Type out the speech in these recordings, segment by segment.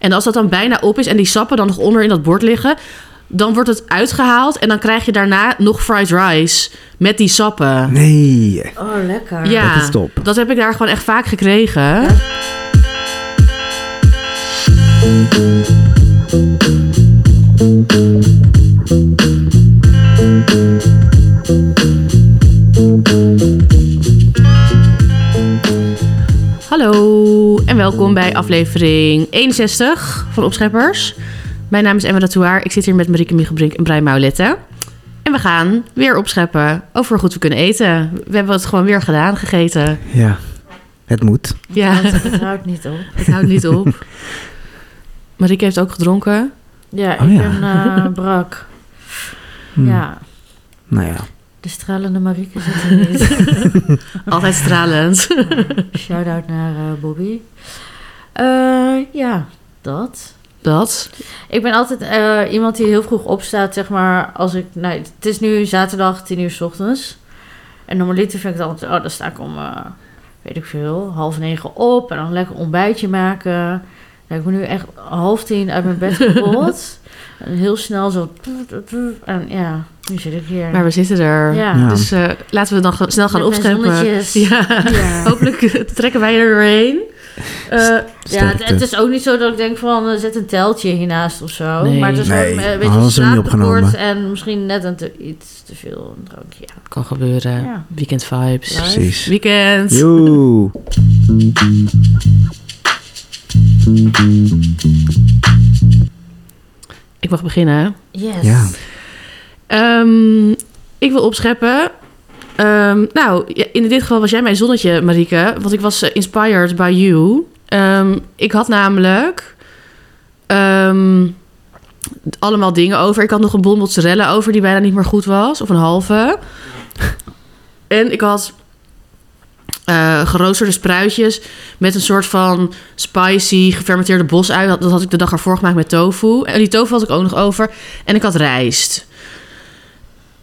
En als dat dan bijna op is en die sappen dan nog onder in dat bord liggen, dan wordt het uitgehaald en dan krijg je daarna nog fried rice met die sappen. Nee, Oh, lekker. Ja, dat is top. dat heb ik daar gewoon echt vaak gekregen. Hallo en welkom bij aflevering 61 van Opscheppers. Mijn naam is Emma Ratouaar. Ik zit hier met Marieke Miegebrink en Brian Maulette. En we gaan weer opscheppen over hoe goed we kunnen eten. We hebben het gewoon weer gedaan, gegeten. Ja, het moet. Ja, Want het houdt nou niet op. het houdt niet op. Marieke heeft ook gedronken. Ja, Oh, ik ja. ben eh, brak. Hm. Ja, Nou ja, de stralende Marieke zit er niet. Altijd stralend. Shout-out naar eh, Bobby. Eh, ja, dat. Dat. Ik ben altijd eh, iemand die heel vroeg opstaat, zeg maar. Als ik, nou, het is nu zaterdag, 10 uur s ochtends. En normaliter vind ik dan, altijd, oh, dan sta ik om, eh, weet ik veel, half negen op. En dan lekker ontbijtje maken. Nou, ik ben nu echt half tien uit mijn bed gerold. en heel snel zo. En ja, nu zit ik hier. Maar we zitten er. ja. Ja. Dus eh, laten we dan ge- snel gaan Met mijn opscheppen. zonnetjes. Ja. Ja. Hopelijk eh, trekken wij er doorheen. Eh, Ja, het, sterkte. het is ook niet zo dat ik denk van eh, zet een teltje hiernaast of zo. Nee. Maar het is gewoon Nee, een hadden ze hem beetje niet slaaptekort opgenomen. en misschien net een te, iets te veel een drankje. Ja. kan gebeuren. Ja. Weekend vibes. Ja. precies. Weekend. Joe. Ik mag beginnen. Yes. Ja. Ehm, ik wil opscheppen. Ehm, nou, ja, in dit geval was jij mijn zonnetje, Marieke. Want ik was eh, inspired by you. Ehm, ik had namelijk ehm, allemaal dingen over. Ik had nog een bol mozzarella over die bijna niet meer goed was. Of een halve. En ik had eh, geroosterde spruitjes met een soort van spicy gefermenteerde bosui. Dat, dat had ik de dag ervoor gemaakt met tofu. En die tofu had ik ook nog over. En ik had rijst.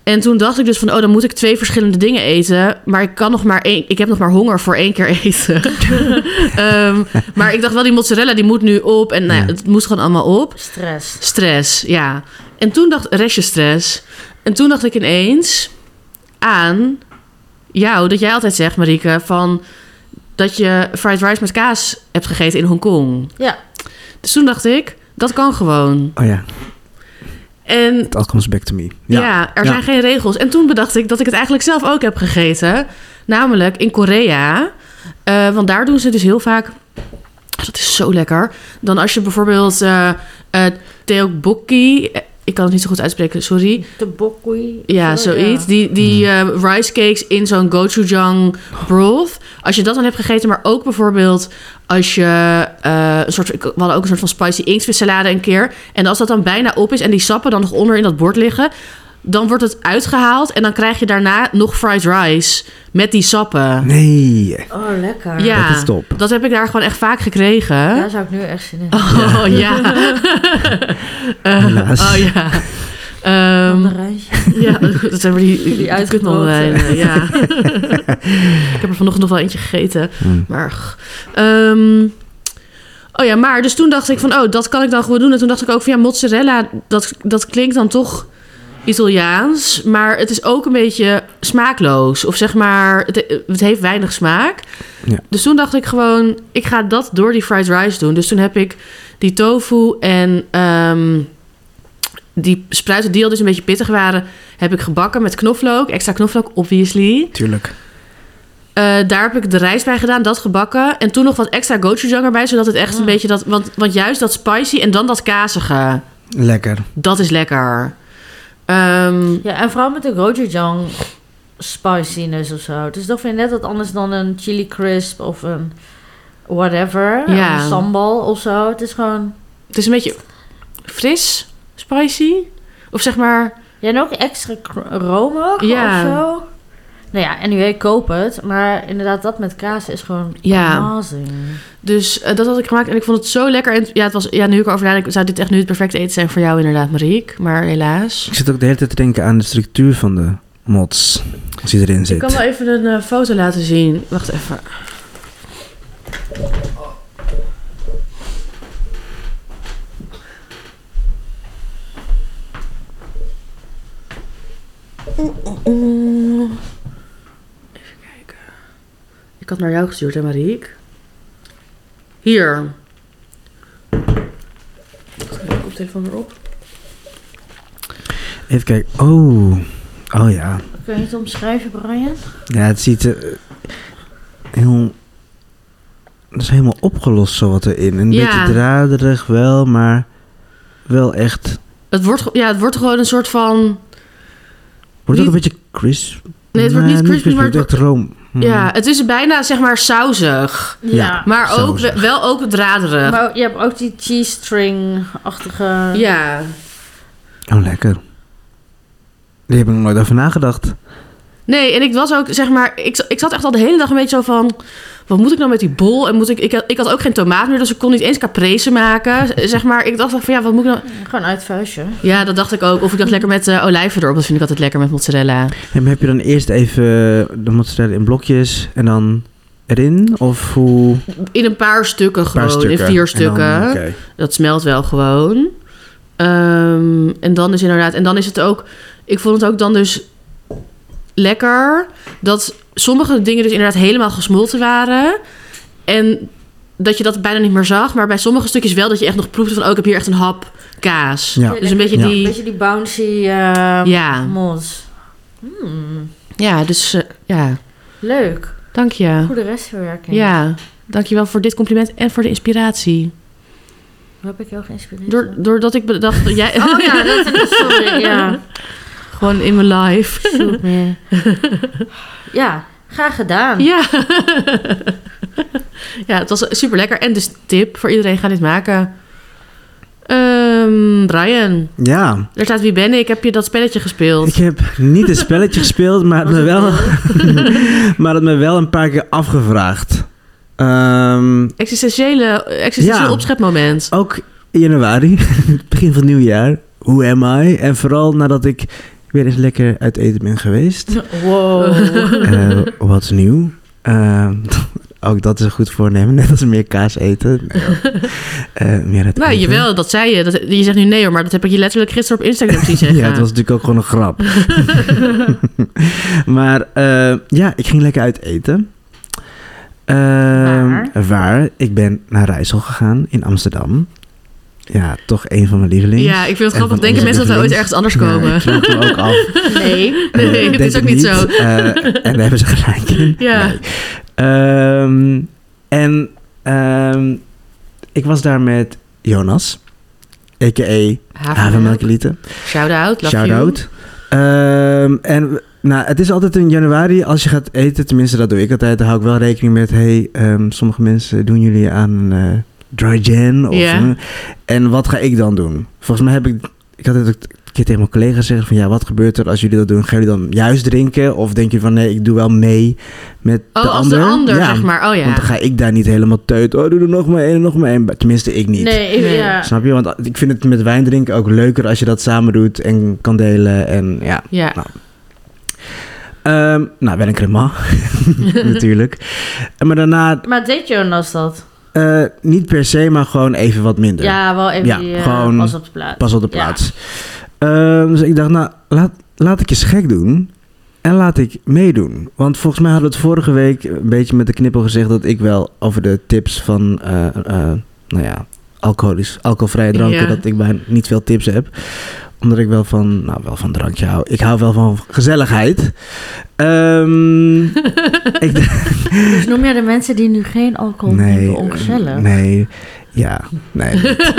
En toen dacht ik dus van, oh, dan moet ik twee verschillende dingen eten. Maar ik kan nog maar één, ik heb nog maar honger voor één keer eten. Ehm, maar ik dacht wel, die mozzarella die moet nu op. En nou ja, Ja. het moest gewoon allemaal op. Stress. Stress, ja. En toen dacht restje stress. En toen dacht ik ineens aan jou, dat jij altijd zegt, Marieke, van dat je fried rice met kaas hebt gegeten in Hongkong. Ja. Dus toen dacht ik, dat kan gewoon. Oh ja, En it all comes back to me. ja, er Ja. zijn geen regels. En toen bedacht ik dat ik het eigenlijk zelf ook heb gegeten, namelijk in Korea. Eh, want daar doen ze dus heel vaak. Dat is zo lekker. Dan als je bijvoorbeeld eh eh, tteokbokki. eh, Ik kan het niet zo goed uitspreken, sorry. De bokkui. Ja, Zo, zoiets. Die, die eh, rice cakes in zo'n gochujang broth. Als je dat dan hebt gegeten, maar ook bijvoorbeeld als je eh, een soort, we hadden ook een soort van spicy inktvissalade een keer. En als dat dan bijna op is en die sappen dan nog onder in dat bord liggen, dan wordt het uitgehaald en dan krijg je daarna nog fried rice met die sappen. Nee, Oh, lekker. Ja. dat is top. Dat heb ik daar gewoon echt vaak gekregen. Daar zou ik nu echt zin in hebben. Oh ja. Eh, Helaas. oh ja. Ehm, Mandarijntje. ja, dat zijn weer die, die uitgekookt, kutmandarijnen, Ja. ik heb er vanochtend nog wel eentje gegeten. Hm. Maar. g- ehm, oh ja, maar dus toen dacht ik van, oh, dat kan ik dan gewoon doen. En toen dacht ik ook van, ja, mozzarella, dat, dat klinkt dan toch Italiaans. Maar het is ook een beetje smaakloos. Of zeg maar, het, het heeft weinig smaak. Ja. Dus toen dacht ik gewoon, ik ga dat door die fried rice doen. Dus toen heb ik die tofu en ehm, die spruiten die al dus een beetje pittig waren... heb ik gebakken met knoflook, extra knoflook, obviously. Tuurlijk. Eh, daar heb ik de rijst bij gedaan, dat gebakken. En toen nog wat extra gochujang erbij, zodat het echt een Mm. beetje dat... Want, want juist dat spicy en dan dat kazige, Lekker. dat is lekker. Ehm, Ja, en vooral met de gochujang spiciness of zo. Dus dat vind ik net wat anders dan een chili crisp of een whatever. Ja. Of Een sambal of zo. Het is gewoon... het is een beetje fris, spicy. Of zeg maar... Ja, en ook extra kro- romig Ja. of zo. Nou ja, en anyway, koop het. Maar inderdaad, dat met kaas is gewoon Ja. amazing. Dus eh, dat had ik gemaakt en ik vond het zo lekker. En ja, het was, ja nu ik erover nadenk, zou dit echt nu het perfecte eten zijn voor jou inderdaad, Mariek. Maar helaas. Ik zit ook de hele tijd te denken aan de structuur van de mods. Als die erin Ik kan wel zit. even een eh, foto laten zien. Wacht even. Oeh. Even kijken. Ik had naar jou gestuurd, hè, Mariek? Hier. Wacht, Ik kom telefoon weer op. Even kijken. Oh. Oh ja. Kun je het omschrijven, Brian? Ja, het ziet er eh, heel... Het is helemaal opgelost zo wat erin. Een Ja. beetje draderig wel, maar wel echt... Het wordt, ge- ja, het wordt gewoon een soort van... Wordt ook Niet- een beetje crisp. Nee, het wordt niet crispy, maar het wordt het echt room. Mm. Ja, het is bijna, zeg maar, sausig. Ja. Maar ook, sausig. wel ook draderig. Maar eh, je hebt ook die cheese string-achtige... ja. Oh, lekker. Daar heb ik nog nooit over nagedacht. Nee, en ik was ook, zeg maar, ik, ik zat echt al de hele dag een beetje zo van, wat moet ik nou met die bol? En moet ik, ik, had, ik had ook geen tomaat meer, dus ik kon niet eens caprese maken. Z- Zeg maar, ik dacht echt van, ja, wat moet ik nou? Gewoon uit vuistje. Ja, dat dacht ik ook. Of ik dacht lekker met eh, olijven erop, dat vind ik altijd lekker met mozzarella. En heb je dan eerst even de mozzarella in blokjes en dan erin? Of hoe? In een paar stukken gewoon, in vier stukken. Dat smelt wel gewoon. Ehm, en dan is inderdaad, en dan is het ook, ik vond het ook dan dus lekker dat sommige dingen dus inderdaad helemaal gesmolten waren. En dat je dat bijna niet meer zag, maar bij sommige stukjes wel dat je echt nog proefde van, oh, ik heb hier echt een hap kaas. Ja. Dus een beetje Ja. die, Beetje die bouncy eh ja, mos. Hmm, ja, dus eh, ja, Leuk. dank je. Goede restverwerking. Ja, dank je wel voor dit compliment en voor de inspiratie. Hoe heb ik jou geïnspireerd? Door, doordat ik bedacht dat jij, Oh ja, dat is... Sorry, ja. gewoon in mijn life. Shoot me. Ja, graag gedaan. Ja. ja, het was super lekker. En dus tip voor iedereen, ga dit maken. Ehm, Brian, Ja, daar staat Wie ben ik? Heb je dat spelletje gespeeld? ik heb niet het spelletje gespeeld, maar het me wel, maar het me wel een paar keer afgevraagd. Ehm, Existentiële, existentieel Ja. opschepmoment. ook in januari, begin van het nieuwjaar. Who am I? En vooral nadat ik weer eens lekker uit eten ben geweest. Wow. Eh, wat is nieuw? Eh, ook dat is een goed voornemen, net als meer kaas eten. Nee, hoor. Eh, meer uit Nou, eten. jawel, dat zei je. Dat, je zegt nu nee hoor, maar dat heb ik je letterlijk gisteren op Instagram zien zeggen. Ja, het was natuurlijk ook gewoon een grap. maar eh, ja, ik ging lekker uit eten. Eh, Waar? waar? Ik ben naar Rijssel gegaan in Amsterdam. Ja, toch een van mijn lievelings. Ja, ik vind het En van grappig. Denken onze mensen dat we ooit lievelings. ergens anders komen? Ja, ik vroeg me ook af. Nee. Nee, Eh, het denk is ik ook niet zo. Eh, en daar hebben ze gelijk in. Ja. Nee. Ehm, en ehm, ik was daar met Jonas, a.k.a. Havenmelkelieten. Shout-out, love you. Shout-out. Ehm, en w- nou, het is altijd in januari als je gaat eten. Tenminste, dat doe ik altijd. Daar hou ik wel rekening met. Hey, ehm, sommige mensen doen jullie aan eh, dry gin. Of, Ja. eh, en wat ga ik dan doen? Volgens mij heb ik... Ik had het ook een keer tegen mijn collega gezegd. Van ja, wat gebeurt er als jullie dat doen? Gaan jullie dan juist drinken? Of denk je van nee, ik doe wel mee met Oh, de als ander? de ander, ja, zeg maar. Oh ja. Want dan ga ik daar niet helemaal teut. Oh, doe er nog maar één en nog maar één. Tenminste, ik niet. Nee, ik- Nee. ja. Snap je? Want ik vind het met wijn drinken ook leuker als je dat samen doet en kan delen. En ja. Ja. Ehm, nou, wel een crema, natuurlijk. Maar daarna, Maar deed Jonas dat? eh, niet per se, maar gewoon even wat minder. Ja, wel even Ja, die eh, gewoon pas op de plaats. Pas op de Ja. plaats. Ehm, dus ik dacht, nou, laat, laat ik eens gek doen. En laat ik meedoen. Want volgens mij hadden we het vorige week een beetje met de knippel gezegd dat ik wel over de tips van, eh, eh, nou ja, alcoholisch, alcoholvrije dranken, Ja. dat ik bijna niet veel tips heb. Omdat ik wel van, nou, wel van drankje hou. Ik hou wel van gezelligheid. Ehm, ik, Dus noem je de mensen die nu geen alcohol nee, eh, drinken ongezellig? nee, ja, nee, niet.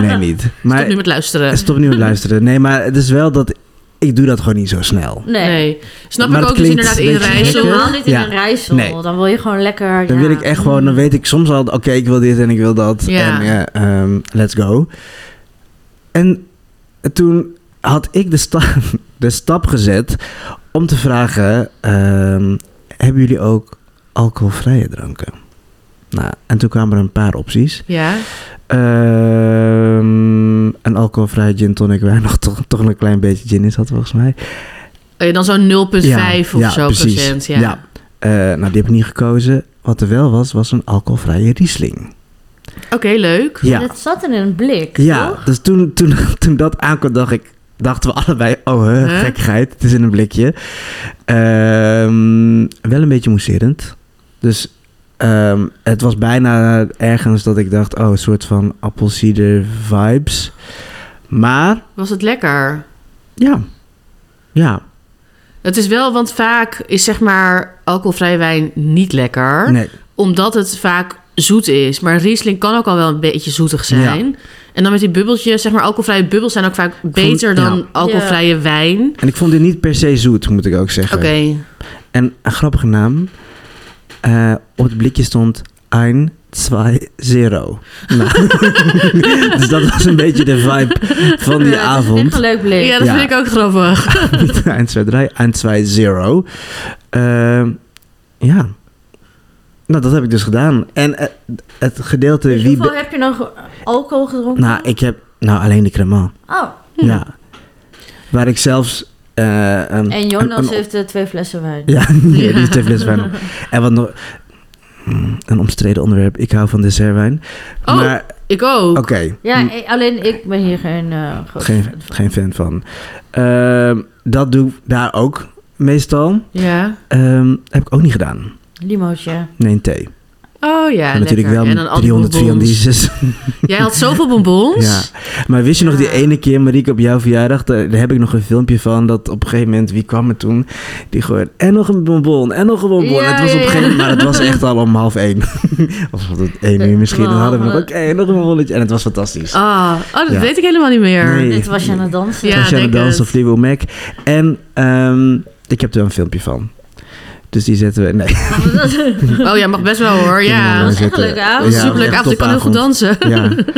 nee, niet. Maar, Stop nu met luisteren. Stop nu met luisteren. Nee, maar het is wel dat ik doe dat gewoon niet zo snel. Nee. Nee. Snap Maar ik dat ook dus klinkt inderdaad een in beetje Rijssel. gekker. Helemaal niet in Ja. een rijsel. Nee. Dan wil je gewoon lekker... Dan ja. wil ik echt gewoon, dan weet ik soms al, oké, ik wil dit en ik wil dat. Ja. En ja, ehm, let's go. En toen had ik de, sta- de stap gezet om te vragen, ehm, hebben jullie ook alcoholvrije dranken? Nou, en toen kwamen er een paar opties. Ja. Ehm, een alcoholvrije gin tonic waar nog toch, toch een klein beetje gin in zat volgens mij. Eh, Dan zo'n 0,5 of ja, zo precies. procent. Ja. Eh, nou, die heb ik niet gekozen. Wat er wel was, was een alcoholvrije Riesling. Oké, leuk. Ja, Dat zat in een blik, ja toch? dus toen, toen, toen dat aankwam, dacht ik... dachten we allebei, oh hè, Huh? gekkigheid, het is in een blikje. Ehm, wel een beetje mousserend. Dus ehm, het was bijna ergens dat ik dacht, oh, een soort van appelsieder vibes. Maar Was het lekker? ja, ja, Het is wel, want vaak is zeg maar alcoholvrij wijn niet lekker. nee, Omdat het vaak zoet is. Maar Riesling kan ook al wel een beetje zoetig zijn. En dan met die bubbeltjes, zeg maar alcoholvrije bubbels zijn ook vaak beter dan ja. alcoholvrije wijn. En ik vond dit niet per se zoet, moet ik ook zeggen. Oké. En een grappige naam. Eh, op het blikje stond 1, 2, 0. Nou, dus dat was een beetje de vibe van die Ja, dat is Echt avond. een leuk blik. Ja, dat Ja. vind ik ook grappig. 1, 2, 3, 1, 2, 0. Ehm, Ja. Nou, dat heb ik dus gedaan. En eh, het gedeelte Dus wie... hoeveel be- heb je nog alcohol gedronken? Nou, ik heb... Nou, alleen de crema. Oh, Ja. Waar ik zelfs... eh, een, en Jonas een- een- heeft eh, twee flessen wijn. Ja, nee, die Ja. is twee fles wijn op. En wat nog... Mm, Een omstreden onderwerp. Ik hou van dessertwijn. Oh, maar ik ook. oké, Hmm, Ja, eh, alleen ik ben hier geen eh groot Hm. geen, fan van. geen fan van. Ehm, dat doe ik daar ook meestal. Ja. Ehm, heb ik ook niet gedaan. Limootje. Nee, een thee. Oh ja, Maar natuurlijk lekker. wel en dan al die 300, bonbons. 400 Jij had zoveel bonbons. Ja. Maar wist je nog die Ja. ene keer, Marieke, op jouw verjaardag? Daar, daar heb ik nog een filmpje van. Dat op een gegeven moment, wie kwam er toen? Die gooide, en nog een bonbon, en nog een bonbon. Ja, het was op een ja, gegeven ja. moment, maar het was echt al om half één. of om één uur misschien. Dan hadden we nog, oké, nog een bonbonnetje. En het was fantastisch. Ah, oh, dat Ja. weet ik helemaal niet meer. Nee. Dit was je aan het dansen. Ja. was je aan denk het dansen het. of Lil Mac. En ehm, ik heb er een filmpje van. Dus die zetten we... Nee, Oh ja, mag best wel hoor. kunnen we Ja. wel was echt een zetten. leuke avond. Dat is Ja, superleuk. echt Avond, ik kan heel goed topavond. dansen.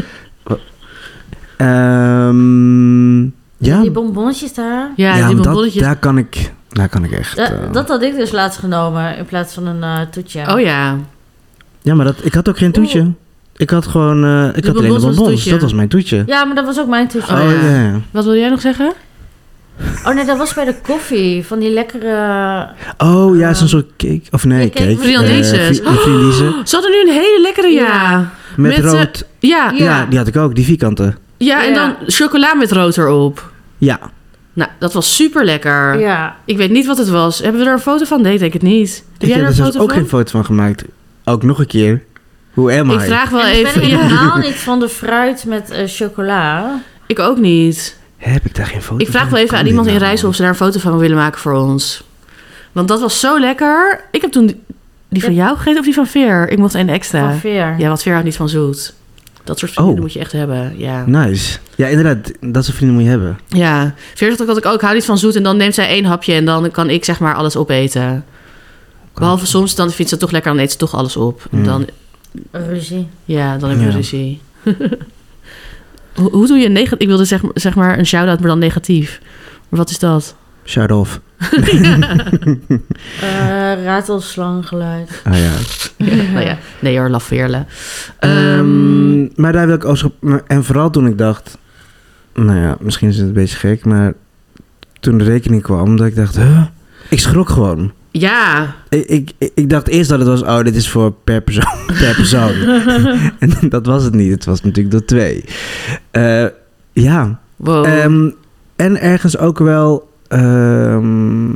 Ja. Ehm, ja, Die bonbonsjes daar. Ja, die maar dat- bonbonnetjes. daar kan ik... Daar kan ik echt... Da- eh, dat had ik dus laatst genomen in plaats van een eh, toetje. Oh ja. Ja, maar dat, ik had ook geen toetje. Ik had gewoon... eh, ik De had alleen de bonbons was het bonbons. toetje. Dat was mijn toetje. Ja, maar dat was ook mijn toetje. Oh, Oh, ja. ja. Wat wil jij nog zeggen? Oh nee, dat was bij de koffie. Van die lekkere... Oh ja, Ah. zo'n soort cake. Of nee, Ja, cake. cake. Friandises. Eh, fri- friandises. Ze hadden nu een hele lekkere ja. Oh. Met, Met, eh, rood. Ja, ja. ja. die had ik ook. Die vierkante. en Ja. dan chocola met rood erop. Ja. Nou, dat was super lekker. Ja. Ik weet niet wat het was. Hebben we er een foto van? Nee, ik denk het niet. Heb jij Ik heb er er een zelfs foto ook van? geen foto van gemaakt. Ook nog een keer. Hoe am I? ik vraag wel En ik ben even. Ja. helemaal niet van de fruit met eh, chocola. Ik ook niet. Heb ik daar geen foto Ik vraag van? wel even Kan aan dit iemand in nou? Rijssel of ze daar een foto van willen maken voor ons. Want dat was zo lekker. Ik heb toen die- die van jou gegeten of die van Veer? Ik mocht één extra. Van veer. Ja, want Veer houdt niet van zoet. Dat soort vrienden Oh. moet je echt hebben, ja. Nice. Ja, inderdaad. Dat soort vrienden moet je hebben. Ja, Veer zegt ook altijd, oh, ik hou niet van zoet. En dan neemt zij één hapje en dan kan ik zeg maar alles opeten. Behalve soms, dan vindt ze het toch lekker, dan eet ze toch alles op. En Mm. dan, Ruzie. ja, dan heb je Ja. ruzie. hoe, hoe doe je negatief? Ik wilde zeg, zeg maar een shout-out, maar dan negatief. Maar wat is dat? Shout off. Eh ratelslanggeluid. Ah ja. Nou ja, nee hoor, laveerle. Ehm, maar daar wil ik ook... maar- En vooral toen ik dacht... Nou ja, misschien is het een beetje gek, maar... Toen de rekening kwam, dat ik dacht... Huh? Ik schrok gewoon. ja, Ik, ik, ik dacht eerst dat het was... Oh, dit is voor per persoon. Per persoon. en dat was het niet. Het was natuurlijk door twee. Eh, ja. wow. Ehm, en ergens ook wel... ehm,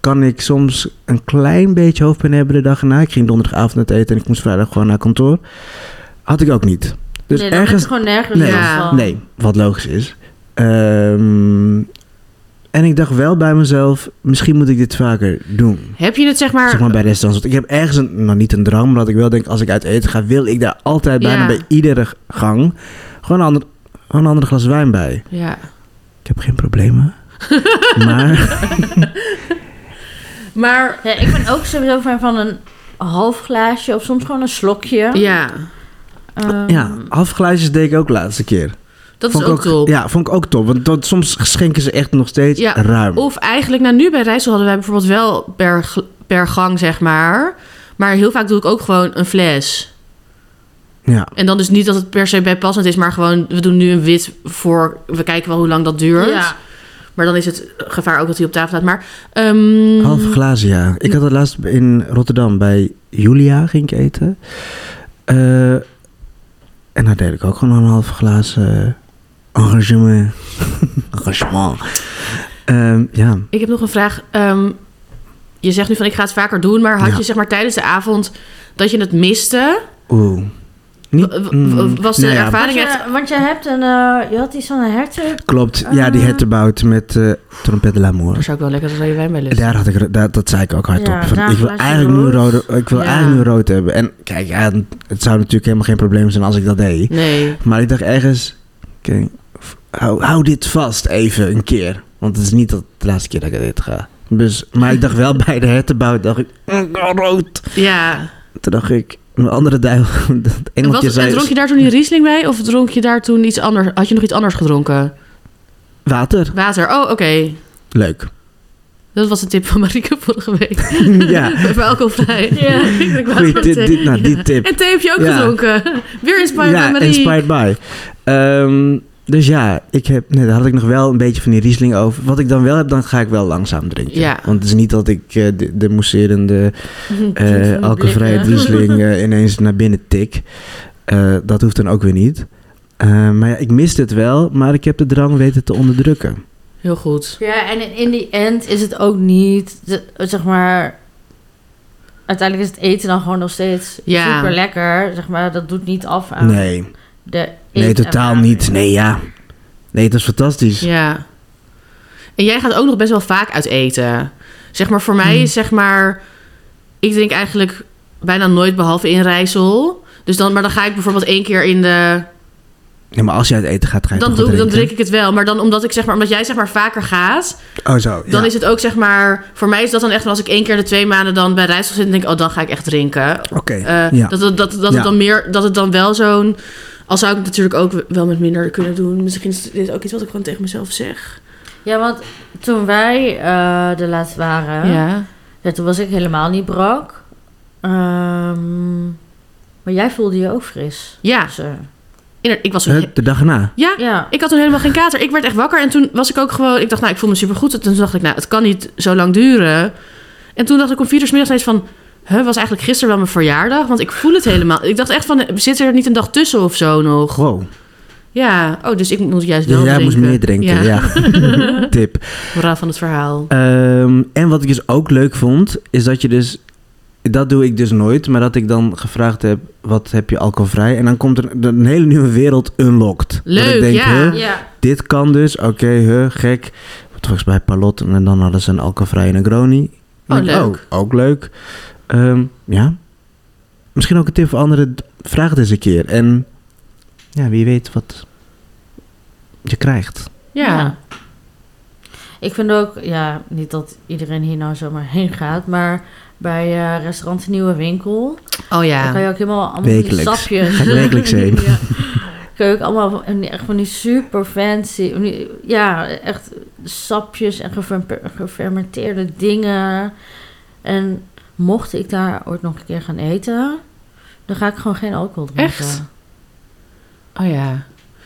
kan ik soms een klein beetje hoofdpijn hebben de dag erna. Ik ging donderdagavond uit eten en ik moest vrijdag gewoon naar kantoor. Had ik ook niet. Dus nee, dan heb ergens je gewoon nergens Nee, last ja. van. Nee, wat logisch is. Ehm, en ik dacht wel bij mezelf, misschien moet ik dit vaker doen. heb je het zeg maar... Zeg maar bij restaurants. Want ik heb ergens, een, nou niet een drang, maar dat ik wel denk, als ik uit eten ga, wil ik daar altijd bijna Ja. bij iedere gang gewoon een ander, gewoon een ander glas wijn bij. ja. Ik heb geen problemen. maar Maar... Ja, ik ben ook sowieso fan van een half glaasje of soms gewoon een slokje. Ja, Ehm, ja, halfglaasjes deed ik ook laatste keer. dat is ook, top. Ja, vond ik ook top. Want dat, soms schenken ze echt nog steeds Ja, ruim. Of eigenlijk, nou nu bij Rijssel hadden wij bijvoorbeeld wel per, gl- per gang zeg maar. Maar heel vaak doe ik ook gewoon een fles. ja. En dan dus niet dat het per se bijpassend is, maar gewoon we doen nu een wit voor... We kijken wel hoe lang dat duurt. Ja. Maar dan is het gevaar ook dat hij op tafel staat. Maar... ehm, Halve glazen, ja. Ik had het laatst in Rotterdam bij Julia ging ik eten. Eh, en daar deed ik ook gewoon een halve glazen Engagement. Engagement. Ehm, ja. Ik heb nog een vraag. Ehm, je zegt nu van ik ga het vaker doen, maar had Ja. je zeg maar tijdens de avond dat je het miste? Oeh. W- w- mm, was de nou ja, ervaring Want je, echt... want je hebt een, eh, je had iets van een hertog. Klopt. Ja, die Ah. hettebout met eh Trompette de l'Amour. Daar zou ik wel lekker rode wijn bij lusten. Daar had ik, ro- daar, dat zei ik ook hardop. Ja, Van, daar ik wil was je eigenlijk nu rood. rood, ik wil Ja. eigenlijk nu rood hebben. En kijk, ja, het zou natuurlijk helemaal geen probleem zijn als ik dat deed. Nee. Maar ik dacht ergens, oké, f- hou, hou dit vast even een keer. Want het is niet dat de laatste keer dat ik dit ga. Dus, maar ik dacht wel bij de hertenbouw, dacht ik, "Mm, rood. Ja. Toen dacht ik, mijn andere duivel, dat En, engeltje wat- en zei, dronk je daar toen die Riesling bij? Of dronk je daar toen iets anders? Had je nog iets anders gedronken? water. Water. Oh, oké. Leuk. Dat was een tip van Marieke vorige week. ja, Bij alcoholvrij. Ja. Ik was goeie wel dit, thee. dit, nou, die tip. En thee heb je ook Ja. gedronken. Weer inspired by ja, Marie. inspired by. Ehm, dus ja, ik heb, nee, daar had ik nog wel een beetje van die Riesling over. Wat ik dan wel heb, dan ga ik wel langzaam drinken. Ja. Want het is niet dat ik eh, de, de mousserende eh alcoholvrije blikken. Riesling eh, ineens naar binnen tik. Eh, dat hoeft dan ook weer niet. Eh, maar ja, ik miste het wel, maar ik heb de drang weten te onderdrukken. Heel goed. Ja, en in the end is het ook niet, de- zeg maar... Uiteindelijk is het eten dan gewoon nog steeds Ja. super lekker. Zeg maar, dat doet niet af aan nee, de nee, eetervaring. totaal niet. Nee, ja. Nee, dat is fantastisch. Ja. En jij gaat ook nog best wel vaak uit eten. Zeg maar, voor Hmm. mij is zeg maar... Ik drink eigenlijk bijna nooit behalve in Rijssel. Dus dan, maar dan ga ik bijvoorbeeld één keer in de... Nee, maar als je uit eten gaat, ga je Dan, toch doe, wel ik- dan drink drinken? ik het wel. Maar dan omdat, ik, zeg maar omdat jij zeg maar vaker gaat... Oh, zo. Dan ja. is het ook zeg maar... Voor mij is dat dan echt... wel Als ik één keer in de twee maanden dan bij Rijssel zit... Dan denk ik, oh, dan ga ik echt drinken. Oké, Eh, ja. Dat, het- dat, dat, Ja. het dan meer, dat het dan wel zo'n... Al zou ik het natuurlijk ook wel met minder kunnen doen. Misschien is dit ook iets wat ik gewoon tegen mezelf zeg. Ja, want toen wij eh, de laatste waren... ja. Ja, toen was ik helemaal niet brak. Ehm, maar jij voelde je ook fris. Ja, Zo. inderdaad, ik was... Eh, de dag erna. ja, Ja. ik had toen helemaal geen kater. Ik werd echt wakker en toen was ik ook gewoon... Ik dacht, nou, ik voel me supergoed. En toen dacht ik, nou, het kan niet zo lang duren. En toen dacht ik om vier uur 's middags ineens van... Huh, was eigenlijk gisteren wel mijn verjaardag? Want ik voel het helemaal. Ik dacht echt van, zit er niet een dag tussen of zo nog? Wow. Ja, oh, dus ik moet juist wel Ja, jij drinken. moest meer drinken, ja. Tip. Moraal van het verhaal. Ehm, en wat ik dus ook leuk vond, is dat je dus... Dat doe ik dus nooit, maar dat ik dan gevraagd heb... wat heb je alcoholvrij? En dan komt er een, een hele nieuwe wereld unlocked. dat Leuk, ik denk, ja. huh, Ja. dit kan dus, oké, huh, gek. Want volgens mij Palot en dan hadden ze een alcoholvrije Negroni. Oh, Ik denk, leuk. ook leuk. Ehm, ja. Misschien ook een tip voor anderen. d- Vraag het eens een keer. En ja, wie weet wat je krijgt. ja. Ik vind ook, ja, niet dat iedereen hier nou zomaar heen gaat, maar bij eh, restaurant De Nieuwe Winkel, Oh daar kan ja. je ook helemaal allemaal van die Wekelijks. sapjes. Ga ik wekelijks heen. Ja. Kan je ook allemaal van- en echt van die super fancy, van die- ja, echt sapjes en gefer- gefermenteerde dingen. En mocht ik daar ooit nog een keer gaan eten, dan ga ik gewoon geen alcohol drinken. Echt? Oh ja.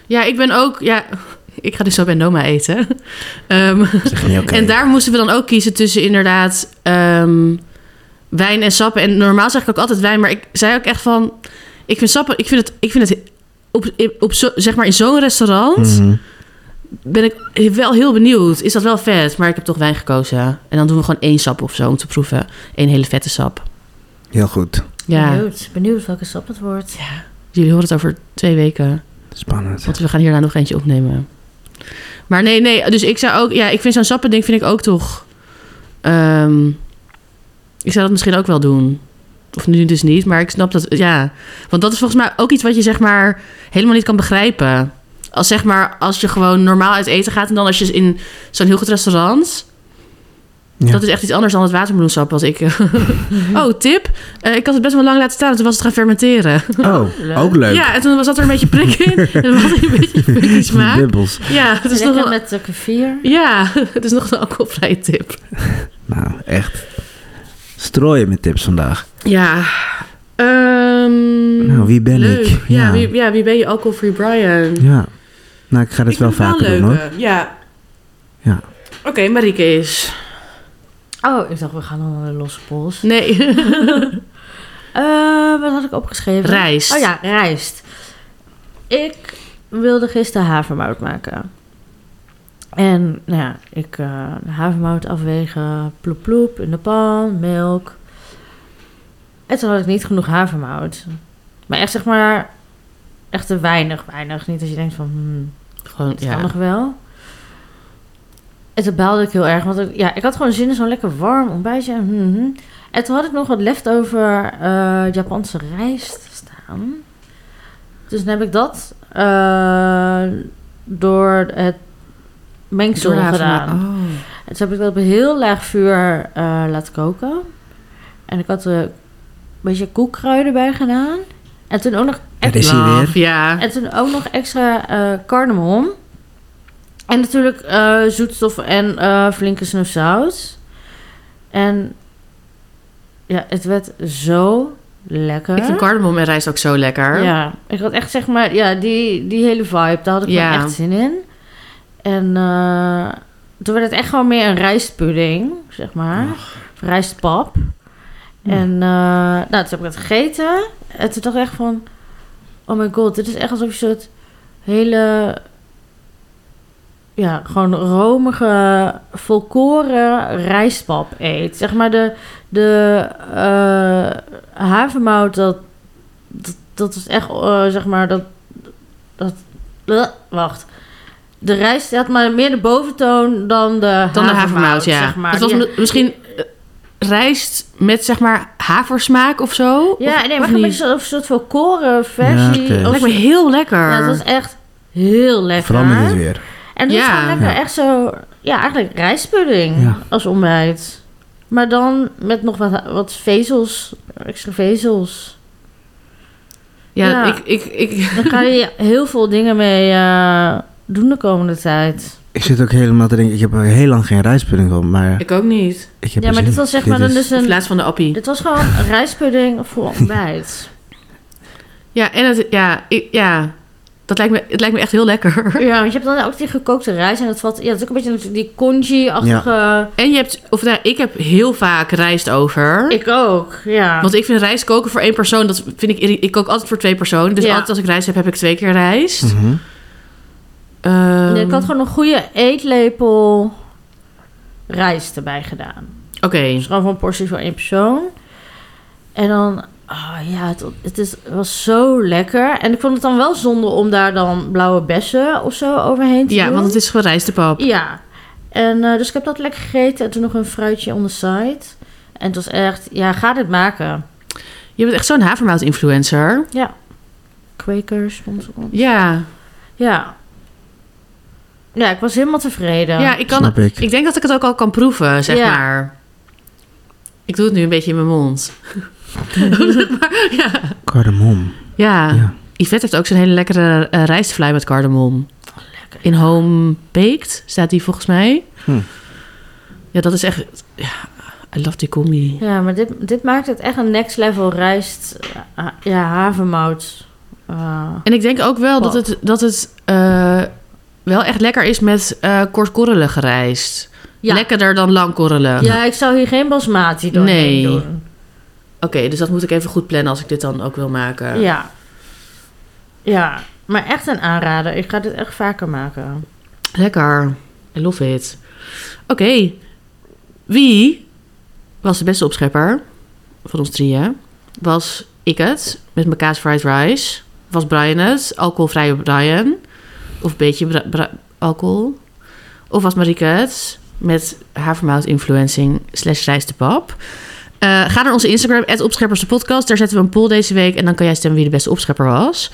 Ja, ik ben ook... Ja, ik ga dus zo bij Noma eten. Ehm, Zeg niet oké. En daar moesten we dan ook kiezen tussen inderdaad ehm, wijn en sappen. En normaal zeg ik ook altijd wijn, maar ik zei ook echt van... Ik vind sappen, ik vind het, ik vind het op, op zo, zeg maar in zo'n restaurant Mhm. ben ik wel heel benieuwd. Is dat wel vet? Maar ik heb toch wijn gekozen. En dan doen we gewoon één sap of zo om te proeven. Eén hele vette sap. Heel goed. Ja, Benieuwd, benieuwd welke sap het wordt. jullie horen het over twee weken. Spannend. Want we gaan hierna nog eentje opnemen. Maar nee, nee. Dus ik zou ook... Ja, ik vind zo'n sappending vind ik ook toch... ehm, ik zou dat misschien ook wel doen. Of nu dus niet. Maar ik snap dat... Ja. Want dat is volgens mij ook iets wat je zeg maar... Helemaal niet kan begrijpen. Als zeg maar... Als je gewoon normaal uit eten gaat... En dan als je in zo'n heel goed restaurant... Ja. Dat is echt iets anders dan het watermeloensap wat ik... oh, tip. Eh, ik had het best wel lang laten staan. en Toen was het gaan fermenteren. Oh, leuk. ook leuk. Ja, en toen zat er een beetje prik in. En we hadden een beetje prikkie smaak. Dubbels. Ja, het is Lekker nog wel- met de kefir. ja, het is nog een alcoholvrije tip. Nou, echt. Strooien met tips vandaag. Ja. ehm, Nou, wie ben leuk. ik? Ja, Ja. Wie, ja, wie ben je alcoholfree Brian? Ja. Nou, ik ga dit Ik wel vind het vaker doen hoor. leuke, Ja. Ja. Oké, Marieke is. Oh, ik dacht, we gaan dan een losse pols. Nee. Eh, wat had ik opgeschreven? Rijst. Oh ja, rijst. Ik we wilden gisteren havermout maken. En nou ja, ik eh, de havermout afwegen, ploep ploep in de pan, melk. En toen had ik niet genoeg havermout. Maar echt zeg maar, echt te weinig, weinig. Niet als je denkt van, hmm, Gewoon, het kan ja. nog wel. En toen baalde ik heel erg, want ik, ja, ik had gewoon zin in zo'n lekker warm ontbijtje. mhm, mhm. En toen had ik nog wat leftover eh Japanse rijst staan. Dus dan heb ik dat eh, door het mengsel Doorlaten. gedaan. Oh. En toen heb ik dat op een heel laag vuur eh, laten koken. En ik had er een beetje koekkruiden bij gedaan. En toen ook nog Daar is hij weer. Love, Ja. en toen ook nog extra eh cardamom. En natuurlijk eh, zoetstof en eh, flinke snuf zout. En ja, het werd zo lekker. Ik vind cardamom en rijst ook zo lekker. Ja, ik had echt zeg maar, ja, die, die hele vibe, daar had ik Ja. me echt zin in. En eh, toen werd het echt gewoon meer een rijstpudding, zeg maar. Of rijstpap. En eh, nou, toen heb ik het gegeten. En toen dacht ik echt van, oh my god, dit is echt alsof je soort hele, ja, gewoon romige, volkoren rijstpap eet. Zeg maar de, de eh, havermout, dat dat, dat is echt, eh, zeg maar, dat... dat eh, wacht. De rijst had maar meer de boventoon dan de Dan de havermout, ja. zeg maar. Het was Die- mi- misschien eh, rijst met, zeg maar, haversmaak of zo. ja, nee, maar niet? een beetje zo'n soort volkoren versie. Ja, oké. Dat of, lijkt me heel lekker. ja, het was echt heel lekker. Vooral nu dit weer. En het Ja. was gewoon lekker Ja. echt zo... Ja, eigenlijk rijstpudding Ja. als ontbijt. Maar dan met nog wat, wat vezels, extra vezels. ja, ja. Ik, ik, ik, Dan kan je heel veel dingen mee eh, doen de komende tijd. Ik zit ook helemaal te denken, ik heb er heel lang geen rijstpudding van, maar ik ook niet. ik heb ja, er zin maar dit in. was zeg maar Dit dan is- dus In een... plaats van de appie. Dit was gewoon een rijstpudding voor ontbijt. Ja, en het, ja, ik- ja, dat lijkt me, het lijkt me echt heel lekker. ja, want je hebt dan ook die gekookte rijst en dat valt... Ja, dat is ook een beetje die congee-achtige... En je hebt, of nou, ik heb heel vaak rijst over. Ik ook, ja. want ik vind rijst koken voor één persoon, dat vind ik, irri- ik kook altijd voor twee personen. Dus Ja. altijd als ik rijst heb, heb ik twee keer rijst. Mhm. Ehm, ik had gewoon een goede eetlepel rijst erbij gedaan. Oké, Dus gewoon voor een portie voor één persoon. En dan... Oh ja, het, het is, het was zo lekker. En ik vond het dan wel zonde om daar dan blauwe bessen of zo overheen te ja, doen. want het is gewoon rijstepap. Ja. En eh, dus ik heb dat lekker gegeten en toen nog een fruitje on the side. En het was echt, ja, ga dit maken. Je bent echt zo'n havermout-influencer. Quakers, sponsor ons. Ja. Ja. Ja, ik was helemaal tevreden. ja, ik kan. Snap ik. Ik denk dat ik het ook al kan proeven, zeg Ja. maar. Ik doe het nu een beetje in mijn mond. maar, ja. Cardamom. Ja. Ja. Yvette heeft ook zo'n hele lekkere eh, rijstvlaai met cardamom. In Home Baked staat die volgens mij. Hm. Ja, dat is echt... Ja, I love die combi. Ja, maar dit, dit maakt het echt een next level rijst. eh, ha- Ja, havermout. eh, En ik denk ook wel dat Wat? het, dat het eh, wel echt lekker is met eh kortkorrelige rijst. ja. Lekkerder dan langkorrelig. ja, ik zou hier geen basmati Nee. doorheen doen. Oké, dus dat moet ik even goed plannen als ik dit dan ook wil maken. Ja. Ja, maar echt een aanrader. Ik ga dit echt vaker maken. Lekker. I love it. Oké. Wie was de beste opschepper van ons drieën? Was ik het met mijn kaas fried rice? Was Brian het? Alcoholvrije Brian? Of een beetje bra- bra- alcohol? Of was Marieke het met havermout influencing slash rijstepap? Eh, ga naar onze Instagram, opscheppers de podcast. Daar zetten we een poll deze week. En dan kan jij stemmen wie de beste opschepper was.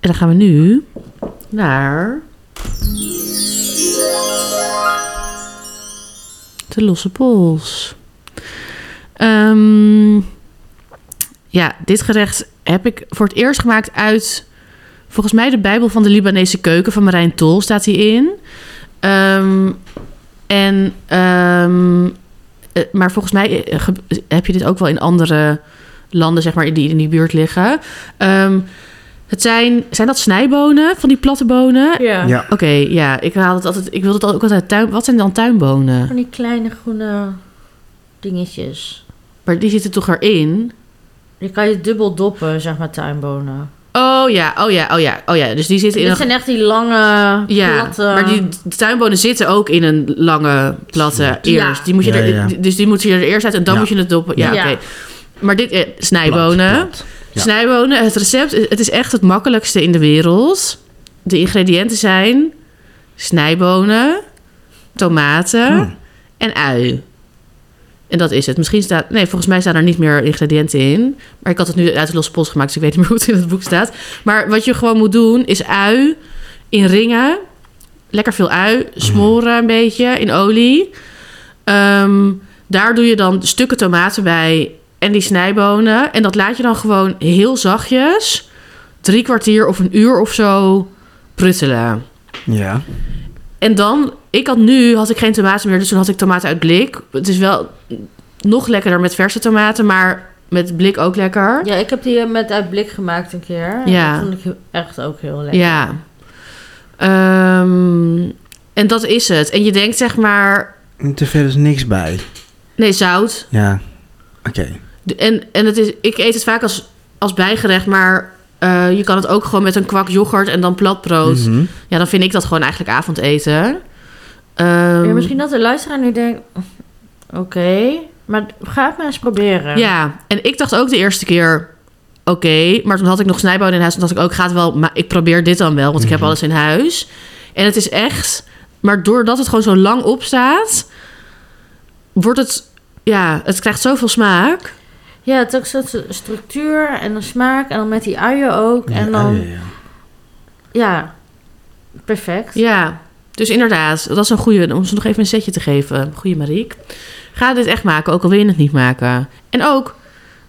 En dan gaan we nu naar... De losse pols. Ehm, ja, dit gerecht heb ik voor het eerst gemaakt uit... Volgens mij de Bijbel van de Libanese keuken van Marijn Tol staat hierin. in. Ehm, en, ehm, eh, maar volgens mij eh, ge- heb je dit ook wel in andere landen, zeg maar, die in die buurt liggen. Ehm, het zijn, zijn dat snijbonen, van die platte bonen? Ja. Oké, ja, ik haal het altijd. Ik wil het ook altijd uit tuin. Wat zijn dan tuinbonen? Van die kleine groene dingetjes. Maar die zitten toch erin? Die kan je dubbel doppen, zeg maar, tuinbonen. Oh ja, oh ja, oh ja, oh ja. Dus die zitten in Dit een... zijn echt die lange, Ja, platte... maar die tuinbonen zitten ook in een lange platte Ja. eerst. Die moet je Ja, er, ja. Dus die moet je er eerst uit en dan Ja. moet je het doppen. Ja, Ja. oké. Maar dit, eh, snijbonen. Plat, plat. Ja. Snijbonen, het recept, is- het is echt het makkelijkste in de wereld. De ingrediënten zijn snijbonen, tomaten Hmm. en ui. En dat is het. Misschien staat... Nee, volgens mij staan er niet meer ingrediënten in. Maar ik had het nu uit de losse pols gemaakt, dus ik weet niet meer hoe het in het boek staat. Maar wat je gewoon moet doen, is ui in ringen. Lekker veel ui. Smoren een beetje in olie. Ehm, daar doe je dan stukken tomaten bij en die snijbonen. En dat laat je dan gewoon heel zachtjes... drie kwartier of een uur of zo pruttelen. Ja. En dan, ik had nu, had ik geen tomaten meer, dus toen had ik tomaten uit blik. Het is wel nog lekkerder met verse tomaten, maar met blik ook lekker. Ja, ik heb die eh, met uit blik gemaakt een keer. En Ja. Dat vond ik heel- echt ook heel lekker. Ja. Ehm, en dat is het. En je denkt zeg maar, En te verder is niks bij. nee, zout. Ja. Oké. De- En, en het is, ik eet het vaak als, als bijgerecht, maar eh, je kan het ook gewoon met een kwak yoghurt en dan platbrood. Mhm. Ja, dan vind ik dat gewoon eigenlijk avondeten. Ehm, Ja, misschien dat de luisteraar nu denkt... Oké, maar ga het maar eens proberen. Ja, en ik dacht ook de eerste keer, oké, maar toen had ik nog snijbonen in huis. Toen dacht ik ook, gaat wel, maar ik probeer dit dan wel, want ik heb Mhm. alles in huis. En het is echt, maar doordat het gewoon zo lang op staat, wordt het, ja, het krijgt zoveel smaak. Ja, het is ook zo'n st- structuur en een smaak. En dan met die uien ook. Ja, en dan, ja, ja, ja. perfect. Ja, dus inderdaad, dat is een goede, om ze nog even een setje te geven. Goeie Mariek. Ga dit echt maken, ook al wil je het niet maken. En ook,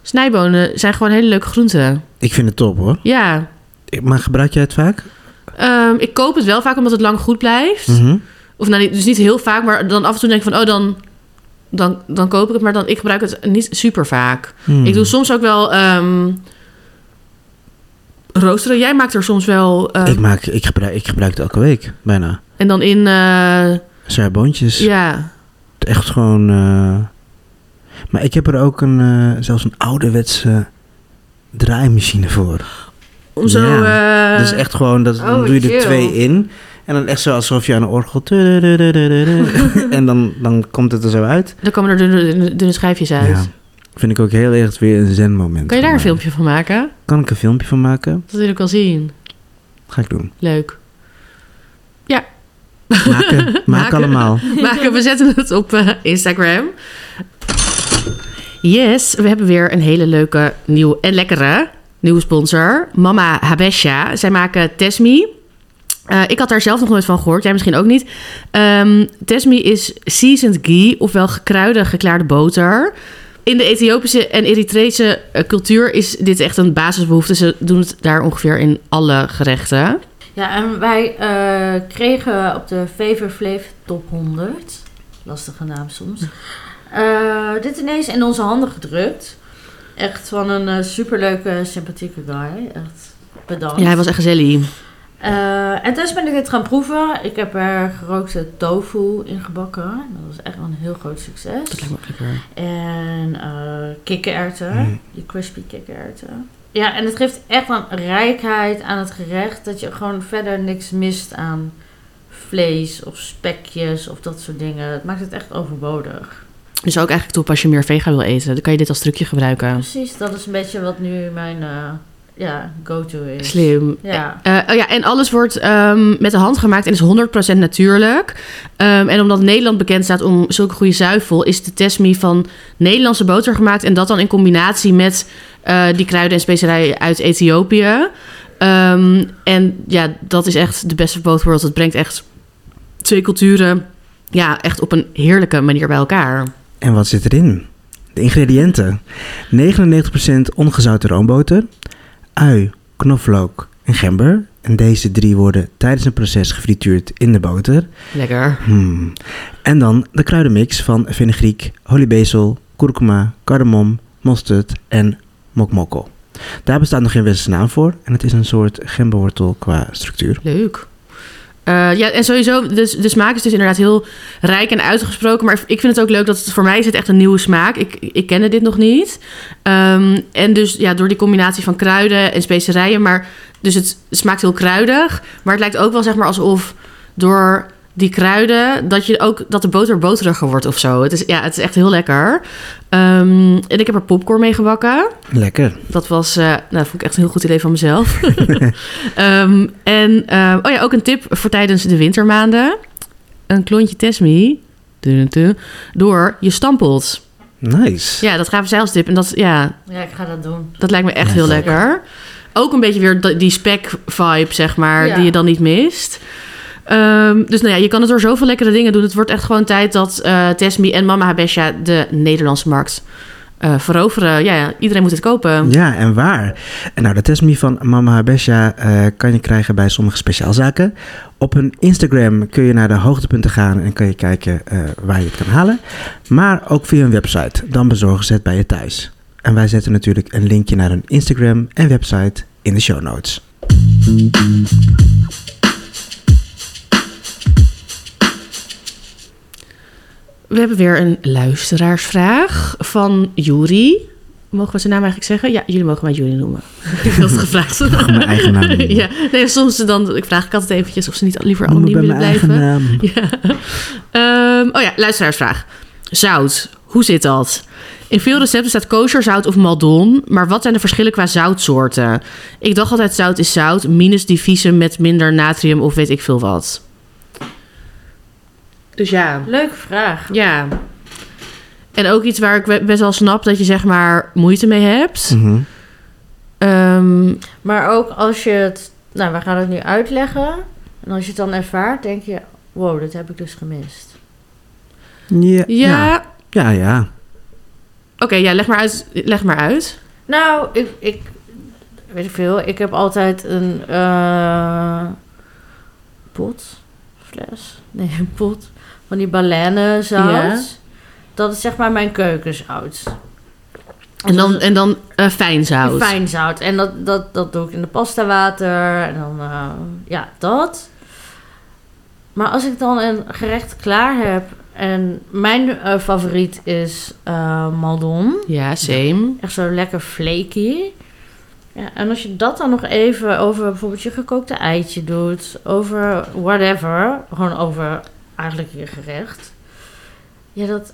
snijbonen zijn gewoon hele leuke groenten. Ik vind het top hoor. Ja, Ik- Maar gebruik jij het vaak? Ehm, ik koop het wel vaak omdat het lang goed blijft. Mhm. Of nou, niet- dus niet heel vaak, maar dan af en toe denk ik van... oh, dan, dan, dan koop ik het. Maar dan, ik gebruik het niet super vaak. Hmm. Ik doe soms ook wel ehm, roosteren. Jij maakt er soms wel... ehm, ik, maak, ik, gebruik, ik gebruik het elke week, bijna. en dan in... eh, Zerboontjes. ja, Echt gewoon... eh, Maar ik heb er ook een, eh, zelfs een ouderwetse draaimachine voor. om zo... eh, dus echt gewoon, dat, dan oh, doe je er chill. twee in. En dan echt zo alsof je aan een orgel... en dan, dan komt het er zo uit. Dan komen er dunne, dunne- dunne schijfjes uit. Ja. Vind ik ook heel erg weer een zen moment. dus- Kan je daar een filmpje van maken? Kan ik een filmpje van maken? Dat wil ik wel zien. Ga ik doen. Leuk. Maken, maak Maken. allemaal. Maar we zetten het op eh, Instagram. Yes, we hebben weer een hele leuke nieuw en lekkere nieuwe sponsor. Mama Habesha. Zij maken Tesmi. Eh, ik had daar zelf nog nooit van gehoord. Jij misschien ook niet. Ehm Tesmi is seasoned ghee, ofwel gekruide geklaarde boter. In de Ethiopische en Eritrese eh, cultuur is dit echt een basisbehoefte. Ze doen het daar ongeveer in alle gerechten. Ja, en wij eh, kregen op de Fever Flev Top 100, lastige naam soms, eh, dit ineens in onze handen gedrukt. Echt van een eh, superleuke, sympathieke guy. Echt bedankt. Ja, hij was echt gezellig. Eh, en thuis ben ik dit gaan proeven. Ik heb er gerookte tofu in gebakken. Dat was echt een heel groot succes. Dat lijkt me ook lekker. En eh kikkererwten, Mm. die crispy kikkererwten. Ja, en het geeft echt een rijkheid aan het gerecht dat je gewoon verder niks mist aan vlees of spekjes of dat soort dingen. Het maakt het echt overbodig. Dus ook eigenlijk toe als je meer vega wil eten. Dan kan je dit als trucje gebruiken. Precies, dat is een beetje wat nu mijn eh, ja, go-to is. Slim. Ja. Eh, oh ja, en alles wordt ehm, met de hand gemaakt en is 100% natuurlijk. Ehm, en omdat Nederland bekend staat om zulke goede zuivel, is de Tesmi van Nederlandse boter gemaakt. En dat dan in combinatie met eh, die kruiden en specerijen uit Ethiopië. Ehm, en ja, dat is echt de beste boot world. Het brengt echt twee culturen ja, echt op een heerlijke manier bij elkaar. En wat zit erin? De ingrediënten. 99% ongezouten roomboter, ui, knoflook en gember. En deze drie worden tijdens een proces gefrituurd in de boter. Lekker. Hmm. En dan de kruidenmix van fenugreek, hollybezel, kurkuma, cardamom, mosterd en mokmokkel. Daar bestaat nog geen westerse naam voor en het is een soort gemberwortel qua structuur. Leuk. Eh, ja, en sowieso, de, de smaak is dus inderdaad heel rijk en uitgesproken. Maar ik vind het ook leuk dat het voor mij is het echt een nieuwe smaak. Ik, ik kende dit nog niet. Ehm, en dus ja, door die combinatie van kruiden en specerijen. Maar dus het smaakt heel kruidig. Maar het lijkt ook wel zeg maar alsof door die kruiden dat je ook dat de boter boteriger wordt of zo. Het is, ja, het is echt heel lekker. Ehm, en ik heb er popcorn mee gebakken. Lekker. Dat was, eh, nou, dat vond ik echt een heel goed idee van mezelf. Ehm, en, eh, oh ja, ook een tip voor tijdens de wintermaanden. Een klontje Tesmi dun, dun, door je stampelt. Nice. Ja, dat gaven zij als tip. En dat, ja, Ja, ik ga dat doen. dat lijkt me echt Ja, heel zeker. lekker. Ook een beetje weer dat- die spec-vibe, zeg maar, Ja. die je dan niet mist. Ehm, dus nou ja, je kan het door zoveel lekkere dingen doen. Het wordt echt gewoon tijd dat eh Tesmi en Mama Habesha de Nederlandse markt eh, veroveren. Ja, ja, iedereen moet het kopen. Ja, en waar? En nou, de Tesmi van Mama Habesha eh, kan je krijgen bij sommige speciaalzaken. Op hun Instagram kun je naar de hoogtepunten gaan en kan je kijken eh, waar je het kan halen. Maar ook via hun website. Dan bezorgen ze het bij je thuis. En wij zetten natuurlijk een linkje naar hun Instagram en website in de show notes. We hebben weer een luisteraarsvraag van Juri. Mogen we zijn naam eigenlijk zeggen? Ja, jullie mogen mij Juri noemen. Ik had het gevraagd. Ik mag mijn eigen naam noemen. ja, nee, soms dan ik vraag ik altijd eventjes of ze niet liever Noem me anoniem bij willen mijn blijven. eigen naam. Ja. Ehm, oh ja, luisteraarsvraag. Zout, hoe zit dat? In veel recepten staat kosher zout of maldon, maar wat zijn de verschillen qua zoutsoorten? Ik dacht altijd zout is zout, minus die vieze met minder natrium of weet ik veel wat. Dus ja, Leuke vraag. ja. En ook iets waar ik we- best wel snap dat je zeg maar moeite mee hebt. Mhm. Ehm, Maar ook als je het... Nou, we gaan het nu uitleggen. En als je het dan ervaart, denk je... Wow, dat heb ik dus gemist. Ja. ja, Ja, ja. ja. oké, ja, leg maar uit. Leg maar uit. Nou, ik... ik weet ik veel. Ik heb altijd een... eh, pot? Fles? Nee, een pot. Van die baleine-zout. Ja. Dat is zeg maar mijn keukenzout. Dus En dan, en dan eh, fijn zout. Fijn zout. En dat, dat, dat doe ik in de pasta water. En dan, eh, ja, dat. Maar als ik dan een gerecht klaar heb. En mijn eh, favoriet is eh, maldon. Ja, same. Echt zo lekker flaky. Ja, en als je dat dan nog even over bijvoorbeeld je gekookte eitje doet. Over whatever. Gewoon over eigenlijk je gerecht. Ja, dat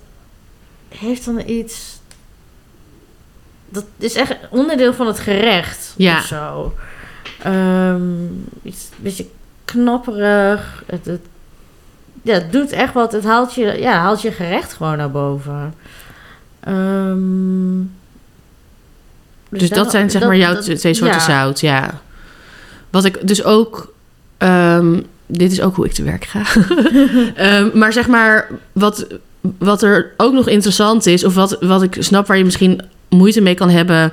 heeft dan iets... Dat is echt onderdeel van het gerecht. Ja. Of zo. Ehm, iets een beetje knapperig. Het, het, ja, het doet echt wat. Het haalt je, ja, haalt je gerecht gewoon naar boven. Ehm, Dus, daar- dat zijn zeg dat- maar jouw dat- t- twee soorten ja. zout, ja. Wat ik dus ook... ehm, dit is ook hoe ik te werk ga. Ehm, maar zeg maar, wat, wat er ook nog interessant is... of wat, wat ik snap waar je misschien moeite mee kan hebben...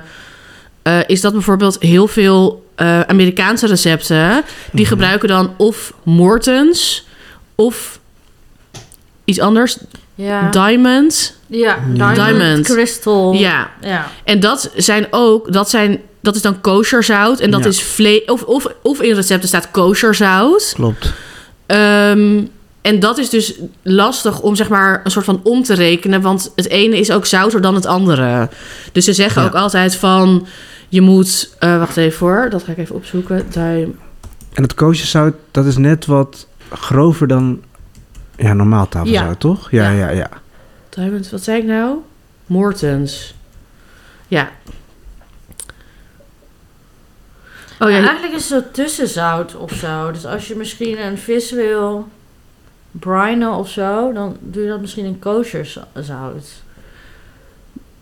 eh, is dat bijvoorbeeld heel veel eh, Amerikaanse recepten... die Mhm. gebruiken dan of Mortons of iets anders. Ja. Diamond. Ja, diamond, Diamond. crystal. Ja, ja. En dat zijn ook, dat, zijn, dat is dan kosher zout. En dat Ja. is vle of, of, of in recepten staat kosher zout. Klopt. Ehm, en dat is dus lastig om zeg maar een soort van om te rekenen. Want het ene is ook zouter dan het andere. Dus ze zeggen Ja. ook altijd van. Je moet. eh, wacht even hoor, dat ga ik even opzoeken. Duim. En het koosjeszout, dat is net wat grover dan ja, normaal tafelzout, Ja. toch? Ja, ja, ja. Diamond, wat zei ik nou? Mortens. Ja. Oh Maar ja, Eigenlijk is het zo tussenzout of zo. Dus als je misschien een vis wil brinen of zo, dan doe je dat misschien in kosher zo- zout.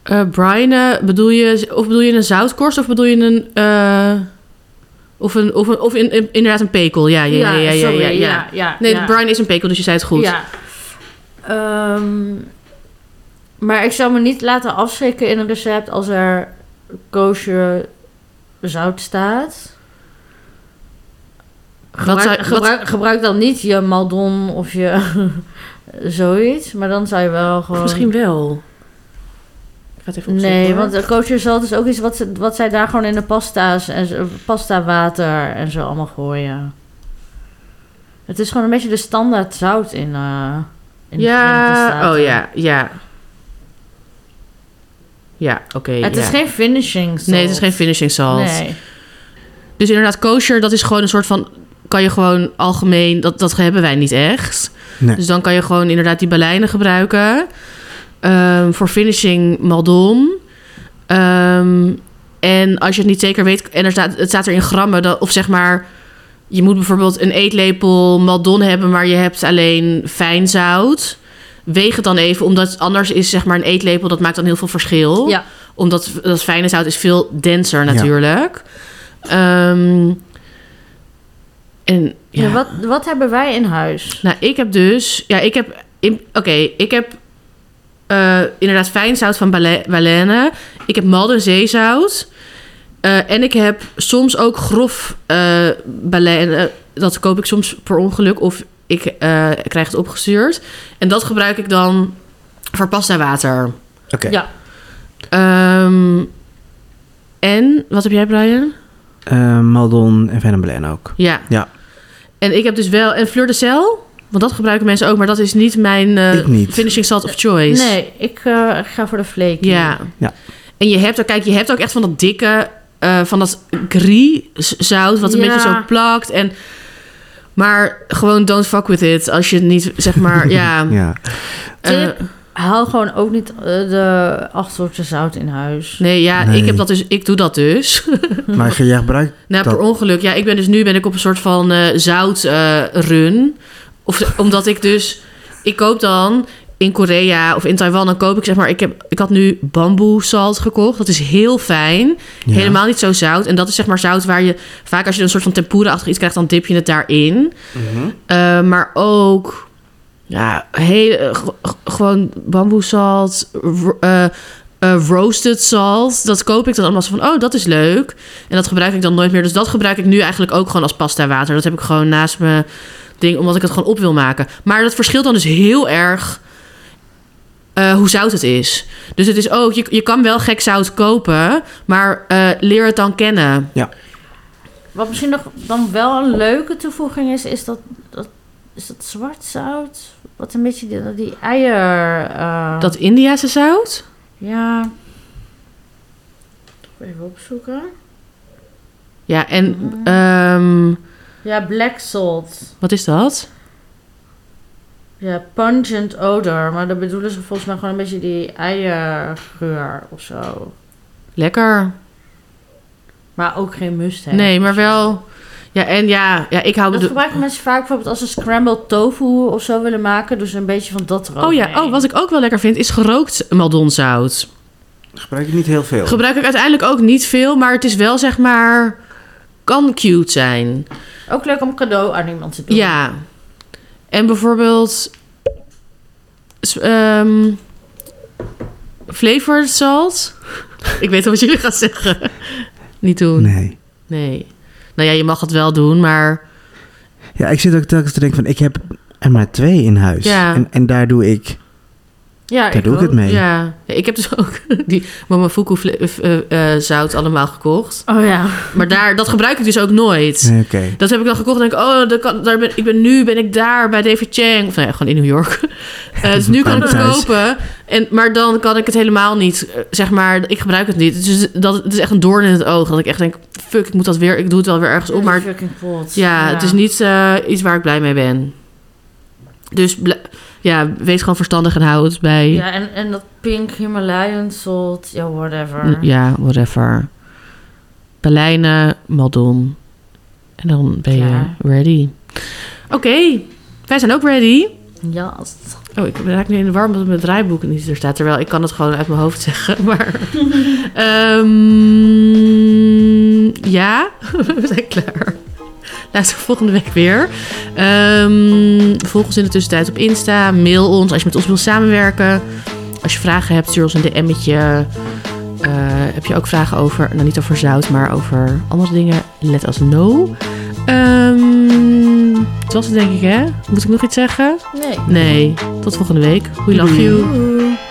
eh brinen, bedoel je, of bedoel je een zoutkorst of bedoel je een. eh, of een, of, een, of in, in- inderdaad een pekel. Ja, ja, ja, ja, ja, sorry, ja, ja. Nee, ja. brine is een pekel, dus je zei het goed. Ja. Ehm, maar ik zou me niet laten afschrikken in een recept als er kosher zout staat. Gebruik, zou- wat- gebruik, gebruik dan niet je maldon of je zoiets, maar dan zou je wel Of gewoon... misschien wel. Ik ga het even opzoeken. Nee, hoor. want eh, kosher zout is ook iets wat, ze, wat zij daar gewoon in de pasta's en pasta water en zo allemaal gooien. Het is gewoon een beetje de standaard zout in, eh in de Verenigde ja, Staten. oh ja, ja. Ja, oké. Het is ja. geen finishing salt. Nee, het is geen finishing salt. Nee. Dus inderdaad, kosher, dat is gewoon een soort van... Kan je gewoon algemeen... Dat, dat hebben wij niet echt. Nee. Dus dan kan je gewoon inderdaad die baleinen gebruiken. Ehm, voor finishing maldon. Ehm, en als je het niet zeker weet... En er staat, het staat er in grammen. Dat, of zeg maar... Je moet bijvoorbeeld een eetlepel maldon hebben... maar je hebt alleen fijn zout. Weeg het dan even. Omdat anders is zeg maar een eetlepel... dat maakt dan heel veel verschil Ja. omdat dat fijne zout is veel denser natuurlijk. Ehm, en ja. Ja, wat, wat hebben wij in huis? Nou, ik heb dus... Ja, ik heb... in- Oké, ik heb eh, inderdaad fijn zout van bale- baleine. Ik heb malden zeezout. Eh, en ik heb soms ook grof eh baleine. Dat koop ik soms per ongeluk of ik eh, krijg het opgestuurd. En dat gebruik ik dan voor pasta water. Oké. Ja. Ehm, en wat heb jij, Brian? Eh, Maldon en Venemblijn ook. Ja. Ja. En ik heb dus wel en Fleur de Cel, want dat gebruiken mensen ook, maar dat is niet mijn eh, Ik niet. finishing salt of choice. Nee, ik eh, ga voor de flake. Ja. Ja. En je hebt ook, kijk, je hebt ook echt van dat dikke, eh, van dat gris zout, wat een Ja. beetje zo plakt en. Maar gewoon don't fuck with it als je het niet, zeg maar, ja. Ja. eh, Tip, Haal gewoon ook niet eh, de acht soorten zout in huis. nee, ja, Nee. ik heb dat dus, ik doe dat dus. Maar jij gebruikt... Nou, Dat- per ongeluk. Ja, ik ben dus nu ben ik op een soort van eh zout eh, run. Of, omdat ik dus... Ik koop dan in Korea of in Taiwan, dan koop ik zeg maar... Ik, heb, ik had nu bamboesalt gekocht. Dat is heel fijn. Ja. Helemaal niet zo zout. En dat is zeg maar zout waar je... Vaak als je een soort van tempura-achtig iets krijgt, dan dip je het daarin. Mhm. Eh, maar ook... Ja, heel, eh, ge- ge- gewoon bamboesalt, ro- eh, eh, roasted salt. Dat koop ik dan allemaal zo van, oh, dat is leuk. En dat gebruik ik dan nooit meer. Dus dat gebruik ik nu eigenlijk ook gewoon als pasta water. Dat heb ik gewoon naast mijn ding, omdat ik het gewoon op wil maken. Maar dat verschilt dan dus heel erg eh, hoe zout het is. Dus het is ook, je, je kan wel gek zout kopen, maar eh, leer het dan kennen. Wat misschien nog dan wel een leuke toevoeging is, is dat, dat, is dat zwart zout. Wat een beetje die, die eier... eh, Dat Indiase zout? Ja. Even opzoeken. Ja, en ehm, Ja, black salt. wat is dat? Ja, pungent odor. Maar dat bedoelen ze volgens mij gewoon een beetje die eiergeur of zo. Lekker. Maar ook geen must have. Nee, maar wel. Ja, en ja, ja ik hou. Dat de- gebruiken mensen vaak bijvoorbeeld als ze scrambled tofu of zo willen maken. Dus een beetje van dat erover. Oh ja, oh, wat ik ook wel lekker vind is gerookt maldonzout. Gebruik ik niet heel veel. Gebruik ik uiteindelijk ook niet veel, maar het is wel zeg maar. kan cute zijn. Ook leuk om cadeau aan iemand te doen. Ja. En bijvoorbeeld. s- ehm flavored salt. ik weet al wat jullie gaan zeggen. niet doen. Nee. Nee. Nou ja, je mag het wel doen, maar. Ja, ik zit ook telkens te denken van... Ik heb er maar twee in huis. Ja. En, en daar doe ik... ja Daar doe ik het ook. mee. Ja. Ja, Ik heb dus ook die Momofuku fle- eh, eh, zout allemaal gekocht. Oh ja. Maar daar, dat gebruik ik dus ook nooit. Nee, Oké. Dat heb ik dan gekocht en denk ik, oh, dat kan, daar ben, ik ben, nu ben ik daar bij David Chang. Of nou ja, gewoon in New York. Eh, dus nu kan ik het Thuis. kopen. En, maar dan kan ik het helemaal niet, eh, zeg maar, ik gebruik het niet. Dus dat, het is echt een doorn in het oog. Dat ik echt denk, fuck, ik moet dat weer, ik doe het wel weer ergens op. Maar Fucking pot. ja, het is niet eh, iets waar ik blij mee ben. Dus bl- ja, wees gewoon verstandig en hou het bij, ja, Ja, en, en dat pink Himalayan salt. Ja, whatever. Mm, whatever. Berlijnen, Maldon. En dan ben je Klaar. ready. Oké, wij zijn ook ready. Ja. Oh, ik raak nu in de war omdat mijn draaiboek niet er staat. Terwijl ik kan het gewoon uit mijn hoofd zeggen. Maar Ehm, ja, we zijn klaar. Luister volgende week weer. Ehm volg ons in de tussentijd op Insta. Mail ons als je met ons wilt samenwerken. Als je vragen hebt, stuur ons een DM'tje. Eh, heb je ook vragen over, nou niet over zout, maar over andere dingen? Let us know. Ehm dat was het denk ik, hè? Moet ik nog iets zeggen? Nee. Nee, tot volgende week. We love you. Doei.